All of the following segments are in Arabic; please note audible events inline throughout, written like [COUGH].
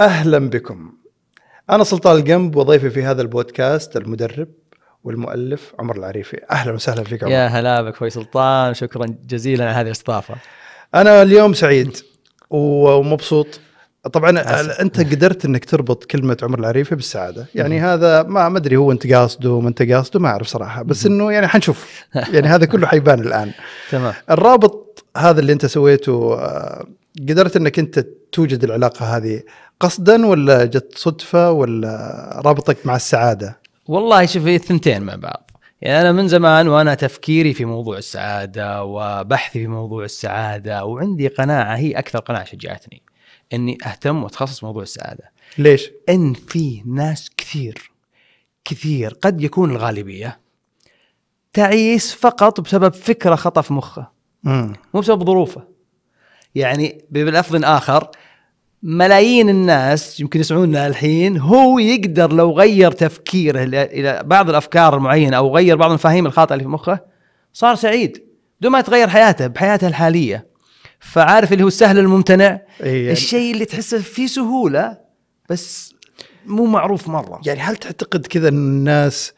اهلا بكم. انا سلطان القنب وضيفي في هذا البودكاست المدرب والمؤلف عمر العريفي. اهلا وسهلا فيك عمر. يا هلا بك خوي سلطان شكرا جزيلا على هذه الاستضافه انا اليوم سعيد ومبسوط. طبعا أسف. انت قدرت انك تربط كلمه عمر العريفي بالسعاده، يعني هذا ما ما ادري هو انت قاصده ما انت قاصده ما اعرف صراحه، بس انه يعني [LAUGHS] حنشوف. يعني هذا كله حيبان الان. تمام الرابط هذا اللي انت سويته آه، قدرت انك انت توجد العلاقه هذه قصدا ولا جت صدفه ولا رابطك مع السعاده؟ والله شوف هي الثنتين مع بعض يعني انا من زمان وانا تفكيري في موضوع السعاده وبحثي في موضوع السعاده وعندي قناعه هي اكثر قناعه شجعتني اني اهتم واتخصص في موضوع السعاده ليش؟ ان في ناس كثير كثير قد يكون الغالبيه تعيس فقط بسبب فكره خطا في مخه امم مو بسبب ظروفه يعني بلفظ اخر ملايين الناس يمكن يسمعونا الحين هو يقدر لو غير تفكيره الى إلى بعض الافكار المعينه او غير بعض المفاهيم الخاطئه اللي في مخه صار سعيد بدون ما تغير حياته بحياته الحاليه فعارف اللي هو السهل الممتنع إيه. الشيء اللي تحسه فيه سهوله بس مو معروف مره يعني هل تعتقد كذا ان الناس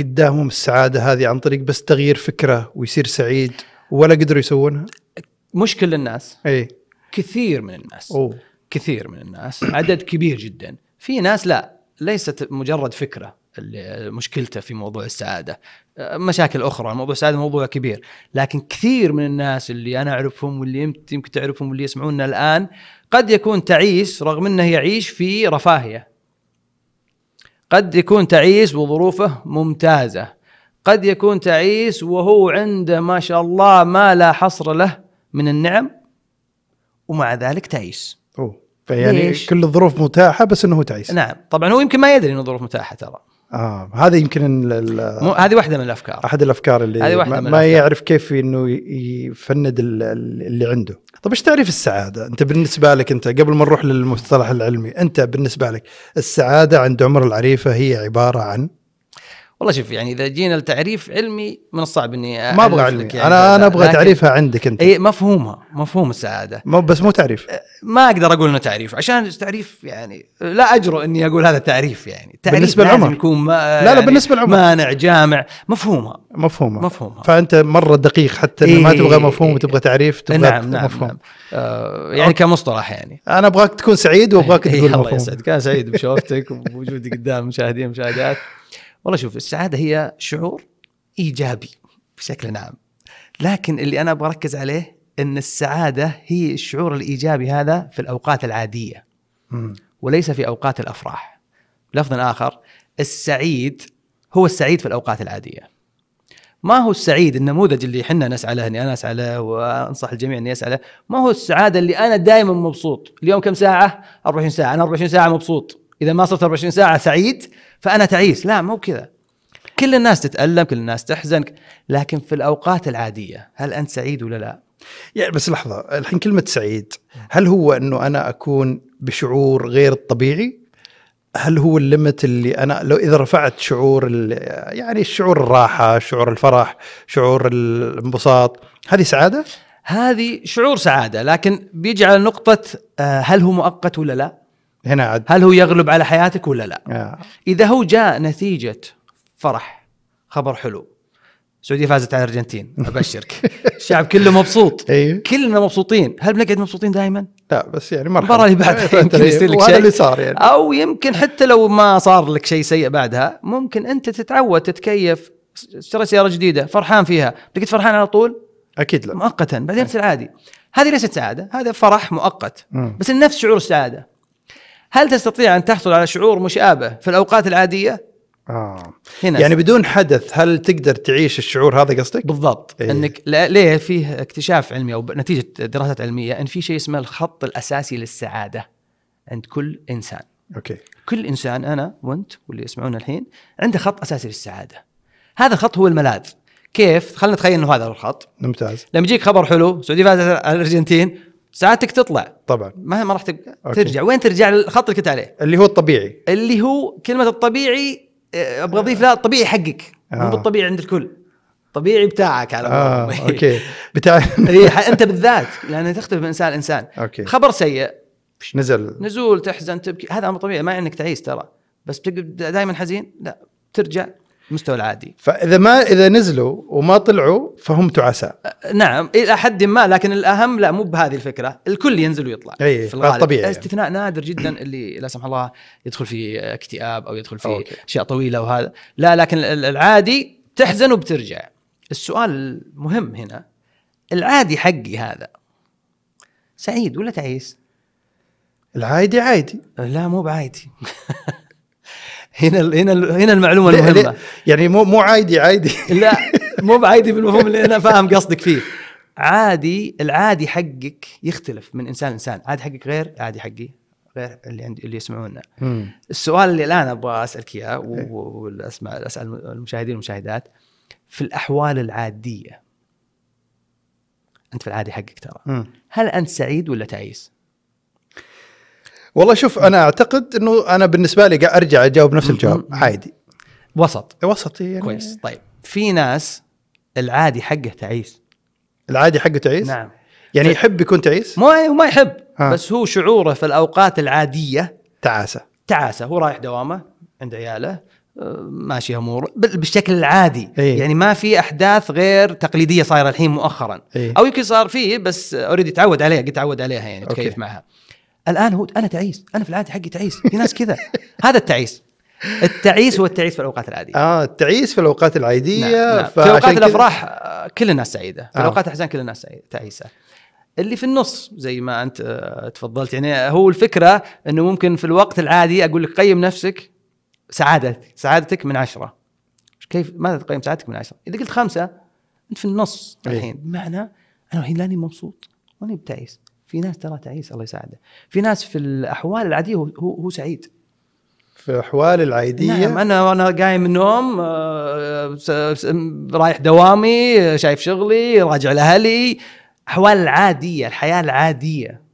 قدامهم السعاده هذه عن طريق بس تغيير فكره ويصير سعيد ولا قدروا يسوونها؟ إيه. مش كل الناس اي كثير من الناس اوه كثير من الناس عدد كبير جدا في ناس لا ليست مجرد فكره اللي مشكلته في موضوع السعاده أه، مشاكل اخرى موضوع السعاده موضوع كبير لكن كثير من الناس اللي انا اعرفهم واللي يمت- يمكن تعرفهم واللي يسمعوننا الان قد يكون تعيس رغم انه يعيش في رفاهيه قد يكون تعيس وظروفه ممتازه قد يكون تعيس وهو عنده ما شاء الله ما لا حصر له من النعم ومع ذلك تعيس اوه فيعني ليش؟ كل الظروف متاحه بس انه هو تعيس نعم طبعا هو يمكن ما يدري ان الظروف متاحه ترى اه هذا يمكن ال- ال- مو هذه واحده من الافكار احد الافكار اللي هذه واحدة ما, من ما الأفكار. يعرف كيف انه ي- يفند ال- ال- اللي عنده طب ايش تعريف السعاده انت بالنسبه لك انت قبل ما نروح للمصطلح العلمي انت بالنسبه لك السعاده عند عمر العريفه هي عباره عن والله شوف يعني اذا جينا لتعريف علمي من الصعب اني ما ابغى أعرف علمي لك يعني انا انا لا، ابغى لكن- إيه. تعريفها عندك انت اي مفهومها مفهوم السعاده مو بس مو تعريف آه، ما اقدر اقول انه تعريف عشان التعريف يعني لا اجرؤ اني اقول هذا تعريف يعني تعريف بالنسبة لازم لعمر. يكون ما يعني لا، لا، بالنسبة لعمر. مانع جامع مفهومها مفهومها مفهومها. فانت مره دقيق حتى إيه ما إيه، تبغى إيه، مفهوم إيه. وتبغى تعريف تبغى نعم نعم, مفهوم نعم. آه يعني كمصطلح يعني انا ابغاك تكون سعيد وابغاك [LAUGHS] إيه، تقول الله مفهوم يسعدك انا سعيد بشوفتك وبوجودي قدام المشاهدين والمشاهدات والله شوف السعاده هي شعور ايجابي بشكل عام لكن اللي انا ابغى اركز عليه ان السعاده هي الشعور الايجابي هذا في الاوقات العاديه مم. وليس في اوقات الافراح لفظ اخر السعيد هو السعيد في الاوقات العاديه ما هو السعيد النموذج اللي احنا نسعى له اني انا اسعى له وانصح الجميع اني اسعى له ما هو السعاده اللي انا دائما مبسوط اليوم كم ساعه 24 ساعه انا 24 ساعه مبسوط اذا ما صرت 24 ساعه سعيد فانا تعيس لا مو كذا كل الناس تتالم كل الناس تحزن لكن في الاوقات العاديه هل انت سعيد ولا لا يعني بس لحظة الحين كلمة سعيد هل هو أنه أنا أكون بشعور غير الطبيعي هل هو الليمت اللي أنا لو إذا رفعت شعور ال- يعني شعور الراحة شعور الفرح شعور الانبساط هذه سعادة هذه شعور سعاده لكن بيجي على نقطه آه، هل هو مؤقت ولا لا هنا عاد هل هو يغلب على حياتك ولا لا؟ آه. إذا هو جاء نتيجة فرح خبر حلو السعودية فازت على [LAUGHS] الأرجنتين أبشرك الشعب كله مبسوط إيه. كلنا مبسوطين هل بنقعد مبسوطين دائما؟ لا بس يعني المباراة مرحبا اللي [LAUGHS] بعدها يمكن يصير لك وهذا شيء آه. اللي صار يعني أو يمكن حتى لو ما صار لك شيء سيء بعدها ممكن أنت تتعود تتكيف اشتري سيارة جديدة فرحان فيها بقيت فرحان على طول أكيد لا مؤقتا بعدين تصير عادي هذه ليست سعاده هذا فرح مؤقت مم. بس نفس شعور السعاده هل تستطيع ان تحصل على شعور مشابه في الاوقات العاديه آه. هنا يعني بدون حدث هل تقدر تعيش الشعور هذا قصدك؟ بالضبط إيه. إيه. انك لا- ليه فيه اكتشاف علمي او نتيجه دراسات علميه ان في شيء اسمه الخط الاساسي للسعاده عند كل انسان أوكي كل انسان انا وانت واللي يسمعونا الحين عنده خط اساسي للسعاده هذا الخط هو الملاذ كيف خلينا نتخيل انه هذا هو الخط ممتاز لما يجيك خبر حلو السعوديه فازت على الارجنتين سعادتك تطلع طبعا ما ما راح تبقى أوكي. ترجع وين ترجع للخط اللي كنت عليه اللي هو الطبيعي اللي هو كلمه الطبيعي آه، ابغى اضيف لها الطبيعي حقك آه. مو بالطبيعي عند الكل طبيعي بتاعك على إيه، آه. [LAUGHS] قولهم. أوكي بتاع إيه، ح- انت بالذات لانها تختلف من انسان لانسان أوكي خبر سيء نزل نزول تحزن تبكي هذا امر طبيعي ما يعني انك تعيس ترى بس بتقعد دائما حزين لا ترجع المستوى العادي فاذا ما اذا نزلوا وما طلعوا فهم تعساء أه، نعم الى حد ما لكن الاهم لا مو بهذه الفكره الكل ينزل ويطلع أي، في الغالب. طبيعي يعني. استثناء نادر جدا اللي لا سمح الله يدخل في اكتئاب او يدخل في أوكي. اشياء طويله وهذا لا لكن ال- العادي تحزن وبترجع السؤال المهم هنا العادي حقي هذا سعيد ولا تعيس العادي عادي لا مو بعادي [LAUGHS] هنا ال- هنا ال- هنا المعلومه ليه- المهمه ليه- يعني مو مو عادي [LAUGHS] عادي لا مو بعادي بالمفهوم اللي انا فاهم قصدك فيه عادي العادي حقك يختلف من انسان لانسان عادي حقك غير عادي حقي غير اللي عندي اللي يسمعونا مم. السؤال اللي الان ابغى اسالك اياه و- والاسمع اسال المشاهدين والمشاهدات في الاحوال العاديه انت في العادي حقك ترى مم. هل انت سعيد ولا تعيس والله شوف انا اعتقد انه انا بالنسبه لي قاعد ارجع اجاوب نفس الجواب مم. عادي وسط وسطي يعني كويس طيب في ناس العادي حقه تعيس العادي حقه تعيس نعم يعني يحب يكون تعيس مو ما يحب ها. بس هو شعوره في الاوقات العاديه تعاسه تعاسه هو رايح دوامه عند عياله آه، ماشي اموره بال- بالشكل العادي إيه. يعني ما في احداث غير تقليديه صايره الحين مؤخرا إيه. او يمكن صار فيه بس اوريدي تعود عليها قد تعود عليها يعني أوكي. تكيف معها الان هو انا تعيس انا في العاده حقي تعيس في ناس كذا [LAUGHS] هذا التعيس التعيس هو التعيس في الاوقات العاديه اه التعيس في الاوقات العاديه نعم، نعم. في فعشان اوقات كذا- الافراح آه، كل الناس سعيده في آه. اوقات الاحزان كل الناس سعيدة- تعيسه اللي في النص زي ما انت آه، تفضلت يعني هو الفكره انه ممكن في الوقت العادي اقول لك قيم نفسك سعادتك سعادتك من عشره كيف ماذا تقيم سعادتك من عشره؟ اذا قلت خمسه انت في النص إيه. الحين بمعنى انا الحين لاني مبسوط ماني بتعيس في ناس ترى تعيس الله يساعده في ناس في الاحوال العاديه هو هو, هو سعيد في احوال العاديه نعم انا وانا قايم من النوم آه، س- س- رايح دوامي آه، شايف شغلي راجع لاهلي احوال العاديه الحياه العاديه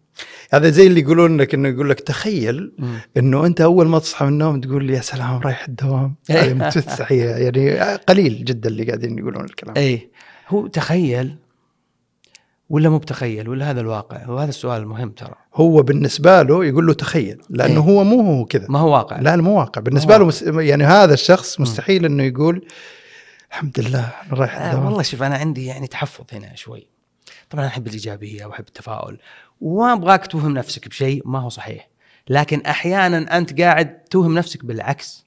هذا زي اللي يقولون لك انه يقول لك تخيل انه انت اول ما تصحى من النوم تقول يا سلام رايح الدوام إيه. هذه مستحيه يعني قليل جدا اللي قاعدين يقولون الكلام اي إيه. هو تخيل ولا مو بتخيل ولا هذا الواقع وهذا السؤال المهم ترى هو بالنسبه له يقول له تخيل لانه إيه. هو مو هو كذا ما هو واقع لا مو واقع بالنسبه له واقع. مس... يعني هذا الشخص مستحيل انه يقول الحمد لله انا رايح آه الدوام والله شوف انا عندي يعني تحفظ هنا شوي طبعا انا احب الايجابيه واحب التفاؤل وما ابغاك توهم نفسك بشيء ما هو صحيح لكن احيانا انت قاعد توهم نفسك بالعكس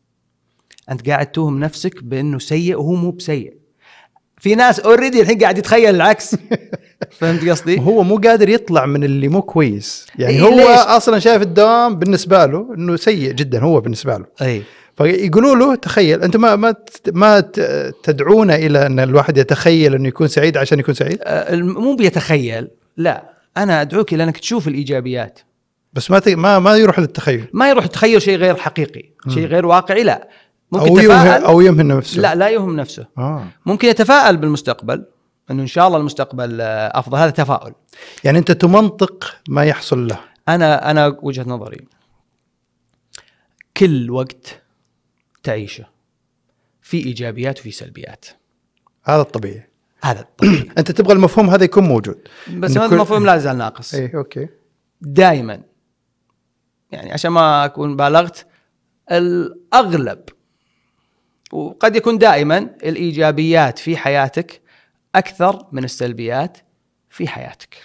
انت قاعد توهم نفسك بانه سيء وهو مو بسيء في ناس اوريدي الحين قاعد يتخيل العكس [LAUGHS] فهمت قصدي؟ هو مو قادر يطلع من اللي مو كويس يعني إيه، هو ليش؟ اصلا شايف الدوام بالنسبه له انه سيء جدا هو بالنسبه له اي فيقولوا له تخيل انت ما ما ت- ما ت- تدعونا الى ان الواحد يتخيل انه يكون سعيد عشان يكون سعيد آه، الم- مو بيتخيل لا انا ادعوك الى انك تشوف الايجابيات بس ما ت- ما ما يروح للتخيل ما يروح تخيل شيء غير حقيقي شيء غير واقعي لا ممكن او يوهم تفاءل او يوهم نفسه لا لا يوهم نفسه آه. ممكن يتفائل بالمستقبل انه ان شاء الله المستقبل آه، افضل هذا تفاؤل يعني انت تمنطق ما يحصل له انا انا وجهه نظري كل وقت تعيشه في ايجابيات وفي سلبيات هذا الطبيعي [CLEARS THROAT] هذا [COUGHS] الطبيعي. انت تبغى المفهوم هذا يكون موجود بس إن هذا كل- المفهوم لا زال ناقص ايه اوكي دائما يعني عشان ما اكون بالغت الاغلب وقد يكون دائما الايجابيات في حياتك اكثر من السلبيات في حياتك.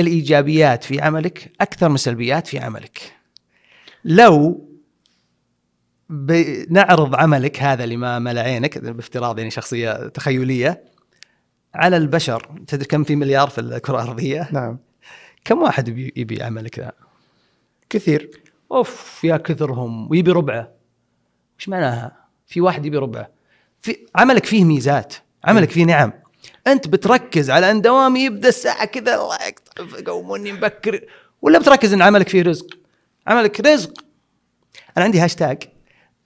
الايجابيات في عملك اكثر من السلبيات في عملك. لو بنعرض عملك هذا اللي ما ملا عينك بافتراض يعني شخصيه تخيليه على البشر تدري كم في مليار في الكره الارضيه؟ نعم كم واحد يبي, يبي عملك ذا؟ كثير اوف يا كثرهم ويبي ربعه. وش معناها؟ في واحد يبي ربعه. في عملك فيه ميزات، عملك فيه نعم. انت بتركز على ان دوامي يبدا الساعه كذا الله يقطع قوموني مبكر ولا بتركز ان عملك فيه رزق؟ عملك رزق. انا عندي هاشتاج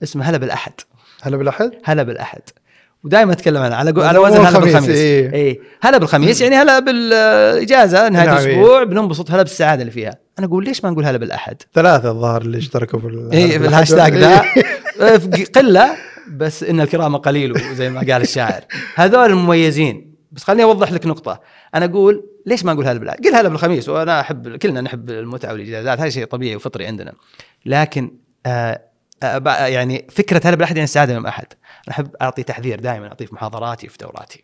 اسمه هلا بالاحد، هلا بالاحد هلا بالاحد. ودائما اتكلم عنه على جو- على هو وزن هلا الخميس، بالخميس إيه. اي هلا بالخميس يعني هلا بالاجازه نهايه نعم، الاسبوع بننبسط هلا بالسعاده اللي فيها انا اقول ليش ما نقول هلا بالاحد ثلاثه الظاهر اللي اشتركوا في ال- اي بالأحد. إيه، بالهاشتاج ذا [LAUGHS] إيه. آه، في قله بس ان الكرامه قليل زي ما قال الشاعر هذول المميزين بس بس خليني اوضح لك نقطه انا اقول ليش ما اقول هلا بالعيد قل هلا بالخميس وانا احب كلنا نحب المتعه والاجازات هذا شيء طبيعي وفطري عندنا لكن آه آه، بع- يعني فكره هلا بالاحد يعني سعاده يوم احد انا احب اعطي تحذير دائما اعطيه في محاضراتي وفي دوراتي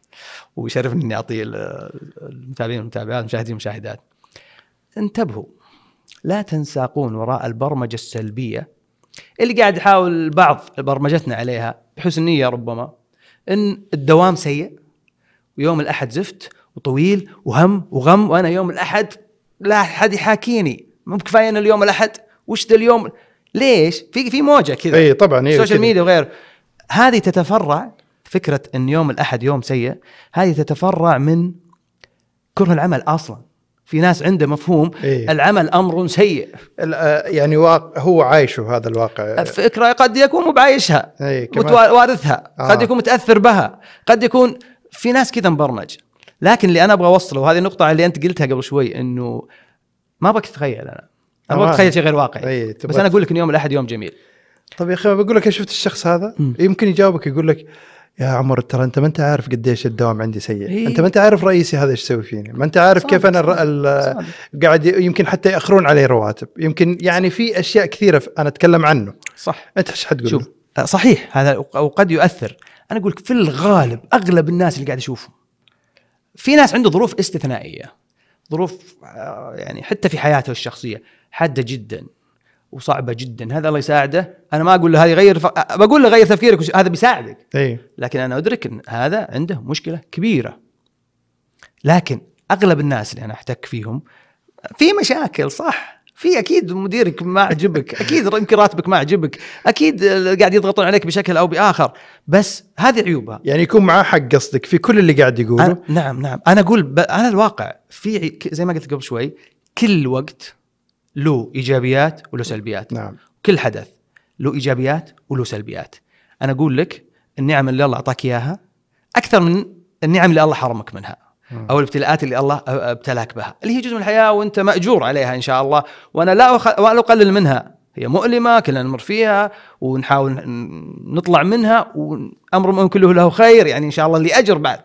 ويشرفني اني اعطي ال- المتابعين والمتابعات المشاهدين والمشاهدات انتبهوا لا تنساقون وراء البرمجه السلبيه اللي قاعد يحاول بعض برمجتنا عليها بحسن نيه ربما ان الدوام سيء ويوم الاحد زفت وطويل وهم وغم وانا يوم الاحد لا احد يحاكيني مو كفايه ان اليوم الاحد وش ذا اليوم ليش؟ في في موجه كذا اي طبعا اي السوشيال إيه، كذا. ميديا وغيره هذه تتفرع فكره ان يوم الاحد يوم سيء هذه تتفرع من كره العمل اصلا في ناس عنده مفهوم إيه. العمل امر سيء ال- آه، يعني واقع هو عايشه هذا الواقع فكره قد يكون مو بعايشها إيه، كمان. متوا- وارثها آه. قد يكون متاثر بها قد يكون في ناس كذا مبرمج لكن اللي انا ابغى اوصله وهذه النقطه اللي انت قلتها قبل شوي انه ما ابغاك تتخيل انا ما ابغاك آه. تتخيل شيء غير واقعي إيه، بس تبغى- انا اقول لك ان يوم الاحد يوم جميل طب يا اخي بقول لك شفت الشخص هذا مم. يمكن يجاوبك يقول لك يا عمر ترى انت ما انت عارف قديش الدوام عندي سيء إيه. انت ما انت عارف رئيسي هذا ايش يسوي فيني ما انت عارف صادق، كيف انا الر- صادق، ال- صادق. قاعد ي- يمكن حتى ياخرون علي رواتب يمكن يعني في اشياء كثيره ف- انا اتكلم عنه صح انت ايش حتقول شوف شوف آه، صحيح هذا وق- وقد يؤثر انا اقول لك في الغالب اغلب الناس اللي قاعد اشوفهم في ناس عنده ظروف استثنائيه ظروف آه، يعني حتى في حياته الشخصيه حاده جدا وصعبه جدا هذا الله يساعده انا ما اقول له هذه غير ف... آه، بقول له غير تفكيرك وش- هذا بيساعدك اي لكن انا ادرك ان هذا عنده مشكله كبيره لكن اغلب الناس اللي انا احتك فيهم في مشاكل صح في اكيد مديرك ما عجبك اكيد يمكن راتبك ما عجبك اكيد آه، قاعد يضغطون عليك بشكل او باخر بس هذه عيوبها يعني يكون معاه حق قصدك في كل اللي قاعد يقوله أنا نعم نعم انا اقول ب... انا الواقع في عي- ك- زي ما قلت قبل شوي كل وقت له ايجابيات وله سلبيات نعم كل حدث له ايجابيات وله سلبيات انا اقول لك النعم اللي الله اعطاك اياها اكثر من النعم اللي الله حرمك منها مم. او الابتلاءات اللي الله أ- ابتلاك بها اللي هي جزء من الحياه وانت ماجور عليها ان شاء الله وانا لا أخ... ولا اقلل منها هي مؤلمه كلنا نمر فيها ونحاول ن- نطلع منها وامر مؤمن كله له خير يعني ان شاء الله اللي اجر بعد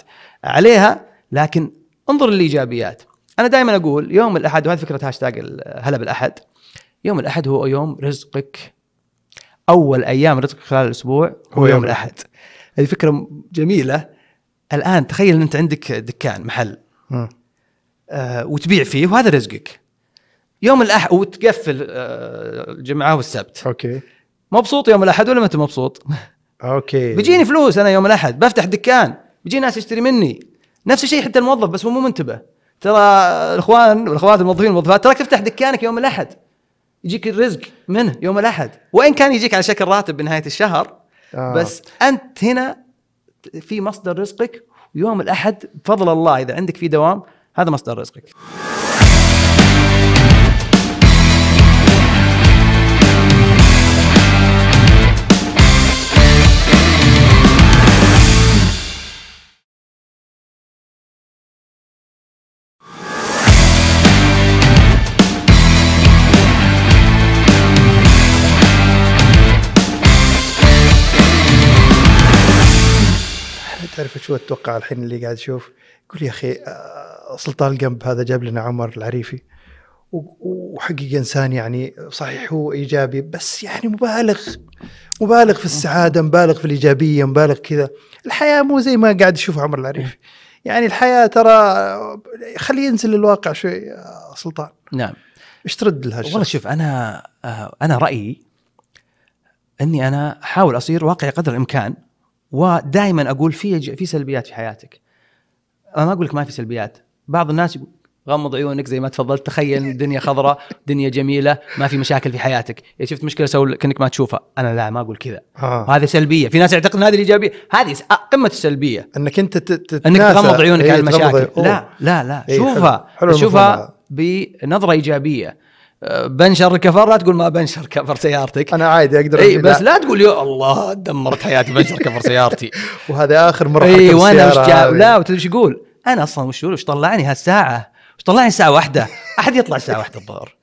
عليها لكن انظر للايجابيات انا دائما اقول يوم الاحد وهذه فكره هاشتاج ال- هلا بالاحد يوم الاحد هو يوم رزقك اول ايام رزقك خلال الاسبوع هو يوم الاحد هذه فكره م- جميله الان تخيل ان انت عندك دكان محل مم. آه، وتبيع فيه وهذا رزقك يوم الاحد وتقفل آه، الجمعه والسبت اوكي مبسوط يوم الاحد ولا ما انت مبسوط؟ [LAUGHS] اوكي بيجيني فلوس انا يوم الاحد بفتح دكان بيجي ناس يشتري مني نفس الشيء حتى الموظف بس هو مو منتبه ترى الاخوان والاخوات الموظفين والموظفات تراك تفتح دكانك يوم الاحد يجيك الرزق منه يوم الاحد وان كان يجيك على شكل راتب بنهايه الشهر آه. بس انت هنا في مصدر رزقك ويوم الاحد بفضل الله اذا عندك في دوام هذا مصدر رزقك تعرف شو اتوقع الحين اللي قاعد يشوف يقول يا اخي آه، سلطان القنب هذا جاب لنا عمر العريفي و- وحقيقه انسان يعني صحيح هو ايجابي بس يعني مبالغ مبالغ في السعاده مبالغ في الايجابيه مبالغ كذا الحياه مو زي ما قاعد يشوف عمر العريفي يعني الحياه ترى آه، خليه ينزل للواقع شوي يا سلطان نعم ايش ترد لها والله شوف انا آه، انا رايي اني انا احاول اصير واقعي قدر الامكان ودائما اقول في ج- في سلبيات في حياتك انا ما اقول لك ما في سلبيات بعض الناس يقول غمض عيونك زي ما تفضلت تخيل [LAUGHS] الدنيا خضراء دنيا جميله ما في مشاكل في حياتك اذا شفت مشكله سوي كانك ما تشوفها انا لا ما اقول كذا آه. هذه سلبيه في ناس يعتقد ان هذه الايجابيه هذه س- آه، قمه السلبيه انك انت تت- انك تتناسى. تغمض عيونك إيه، على تغمض عيون- المشاكل أوه. لا لا لا إيه، حلو. شوفها حلو المفهوم هذا. شوفها بنظره ايجابيه أه، بنشر كفر لا تقول ما بنشر كفر سيارتك انا عادي اقدر اي أقول بس لا تقول يا الله دمرت حياتي بنشر كفر [LAUGHS] سيارتي وهذا اخر مره اي أركب وانا السيارة مش جاب هذه. لا وتدري ايش يقول انا اصلا وش وش طلعني هالساعه وش طلعني الساعه واحدة احد يطلع الساعه واحدة الظهر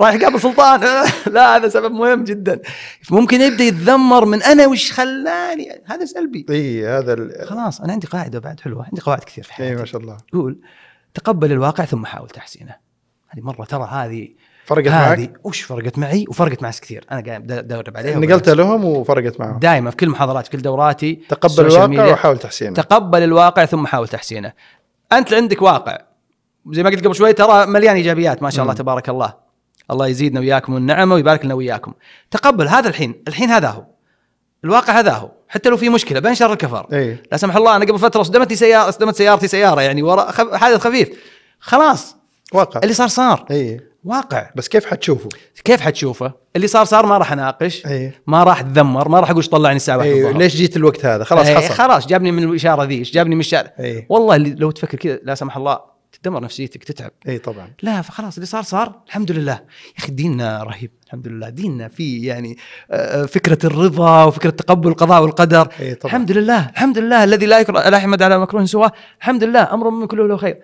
رايح قابل سلطان [LAUGHS] لا هذا سبب مهم جدا ممكن يبدا يتذمر من انا وش خلاني هذا [LAUGHS] سلبي اي هذا ال... خلاص انا عندي قاعده بعد حلوه عندي قواعد كثير في اي ما حياتي شاء الله يقول تقبل الواقع ثم حاول تحسينه هذه مره ترى هذه فرقت معك هذه وش فرقت معي وفرقت مع ناس كثير انا قاعد أد- ادرب عليها نقلتها لهم وفرقت معهم دائما في كل محاضراتي في كل دوراتي تقبل السوشيال الواقع ميديا، وحاول تحسينه تقبل الواقع ثم حاول تحسينه انت عندك واقع زي ما قلت قبل شوي ترى مليان ايجابيات ما شاء الله مم. تبارك الله الله يزيدنا وياكم النعمه ويبارك لنا وياكم تقبل هذا الحين الحين هذا هو الواقع هذا هو حتى لو في مشكله بين شر الكفر اي لا سمح الله انا قبل فتره صدمتني سياره صدمت سيارتي سياره يعني ورا خف... حادث خفيف خلاص واقع اللي صار صار اي واقع بس كيف حتشوفه؟ كيف حتشوفه اللي صار صار ما راح اناقش اي ما راح اتذمر ما راح اقول إيش طلعني الساعه واحد اي الظهر. ليش جيت الوقت هذا؟ خلاص إيه، حصل إيه. خلاص جابني من الاشاره ذي إيش جابني من الشارع اي والله اللي لو تفكر كذا لا سمح الله تدمر نفسيتك تتعب اي طبعا لا فخلاص اللي صار صار الحمد لله يا اخي ديننا رهيب الحمد لله ديننا فيه يعني آه، فكره الرضا وفكره تقبل القضاء والقدر اي طبعا الحمد لله الحمد لله الذي لا يكره لا يحمد على مكروه سواه الحمد لله امر من كله له خير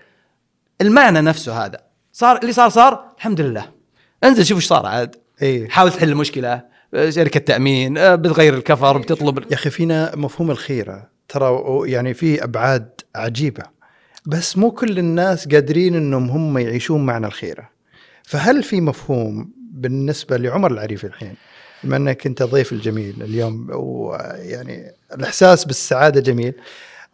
المعنى نفسه هذا صار اللي صار صار الحمد لله انزل شوف ايش صار عاد اي حاول تحل المشكله آه، شركه تامين آه، بتغير الكفر بتطلب يا اخي فينا مفهوم الخيره ترى يعني في ابعاد عجيبه بس مو كل الناس قادرين انهم هم يعيشون معنى الخيره فهل في مفهوم بالنسبه لعمر العريفي الحين بما انك انت ضيف الجميل اليوم ويعني الاحساس بالسعاده جميل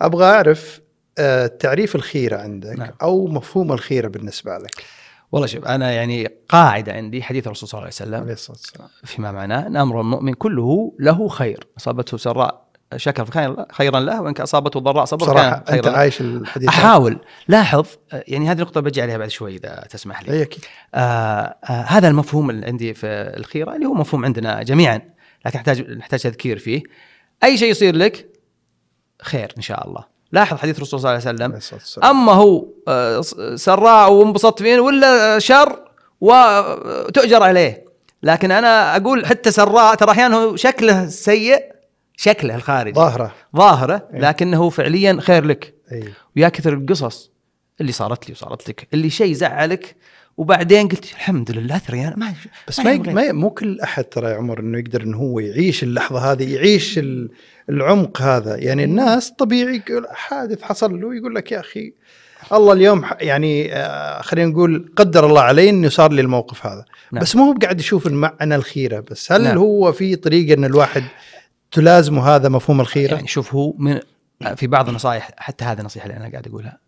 ابغى اعرف آه، تعريف الخيره عندك نعم. نعم. او مفهوم الخيره بالنسبه لك والله شوف انا يعني قاعده عندي حديث الرسول صلى الله عليه وسلم عليه الصلاه والسلام فيما معناه ان امر المؤمن كله له خير اصابته سراء شكر فكان خيرا له وان كان اصابته ضراء صبر بصراحه كان انت خيرا له عايش الحديث احاول لاحظ آه، يعني هذه النقطه بجي عليها بعد شوي اذا تسمح لي اي اكيد آه آه هذا المفهوم اللي عندي في الخيره اللي هو مفهوم عندنا جميعا لكن نحتاج نحتاج تذكير فيه اي شيء يصير لك خير ان شاء الله لاحظ حديث الرسول صلى الله عليه وسلم عليه الصلاه والسلام اما هو آه، س- سراء وانبسطت فيه ولا شر وتؤجر عليه لكن انا اقول حتى سراء ترى احيانا هو شكله سيء شكله الخارجي ظاهره ظاهره إيه. لكنه فعليا خير لك اي ويا كثر القصص اللي صارت لي وصارت لك اللي شيء زعلك وبعدين قلت الحمد لله ثري انا ما بس ما, يهم يق- ما ي- مو كل احد ترى يا عمر انه يقدر انه هو يعيش اللحظه هذه يعيش ال- العمق هذا يعني الناس طبيعي يقول حادث حصل له يقول لك يا اخي الله اليوم ح- يعني آه، خلينا نقول قدر الله علي انه صار لي الموقف هذا نعم. نعم. بس مو هو قاعد يشوف المعنى الخيره بس هل نعم. نعم. هو في طريقه ان الواحد تلازمه هذا مفهوم الخيره يعني شوف هو من آه، في بعض النصائح حتى هذه النصيحه اللي انا قاعد اقولها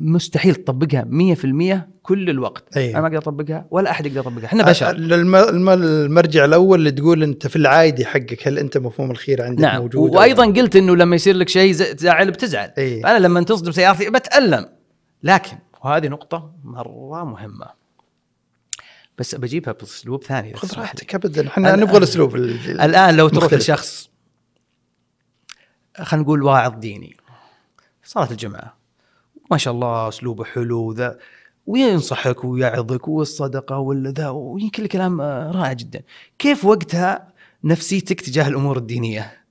مستحيل تطبقها 100% كل الوقت أيوة. انا ما اقدر اطبقها ولا احد يقدر يطبقها احنا بشر الم- الم- المرجع الاول اللي تقول انت في العادي حقك هل انت مفهوم الخيره عندك نعم موجود موجود وايضا قلت انه لما يصير لك شيء ز- تزعل بتزعل إيه. فانا لما تصدم سيارتي بتالم لكن وهذه نقطه مره مهمه بس بجيبها باسلوب ثاني إذا خذ تسمح لي. راحتك ابدا احنا الآن- نبغى الاسلوب ال- الان لو تروح مختلف. لشخص خلينا نقول واعظ ديني صلاه الجمعه ما شاء الله اسلوبه حلو ذا وينصحك ويعظك والصدقه ولا ذا وكل كلام آه، رائع جدا كيف وقتها نفسيتك تجاه الامور الدينيه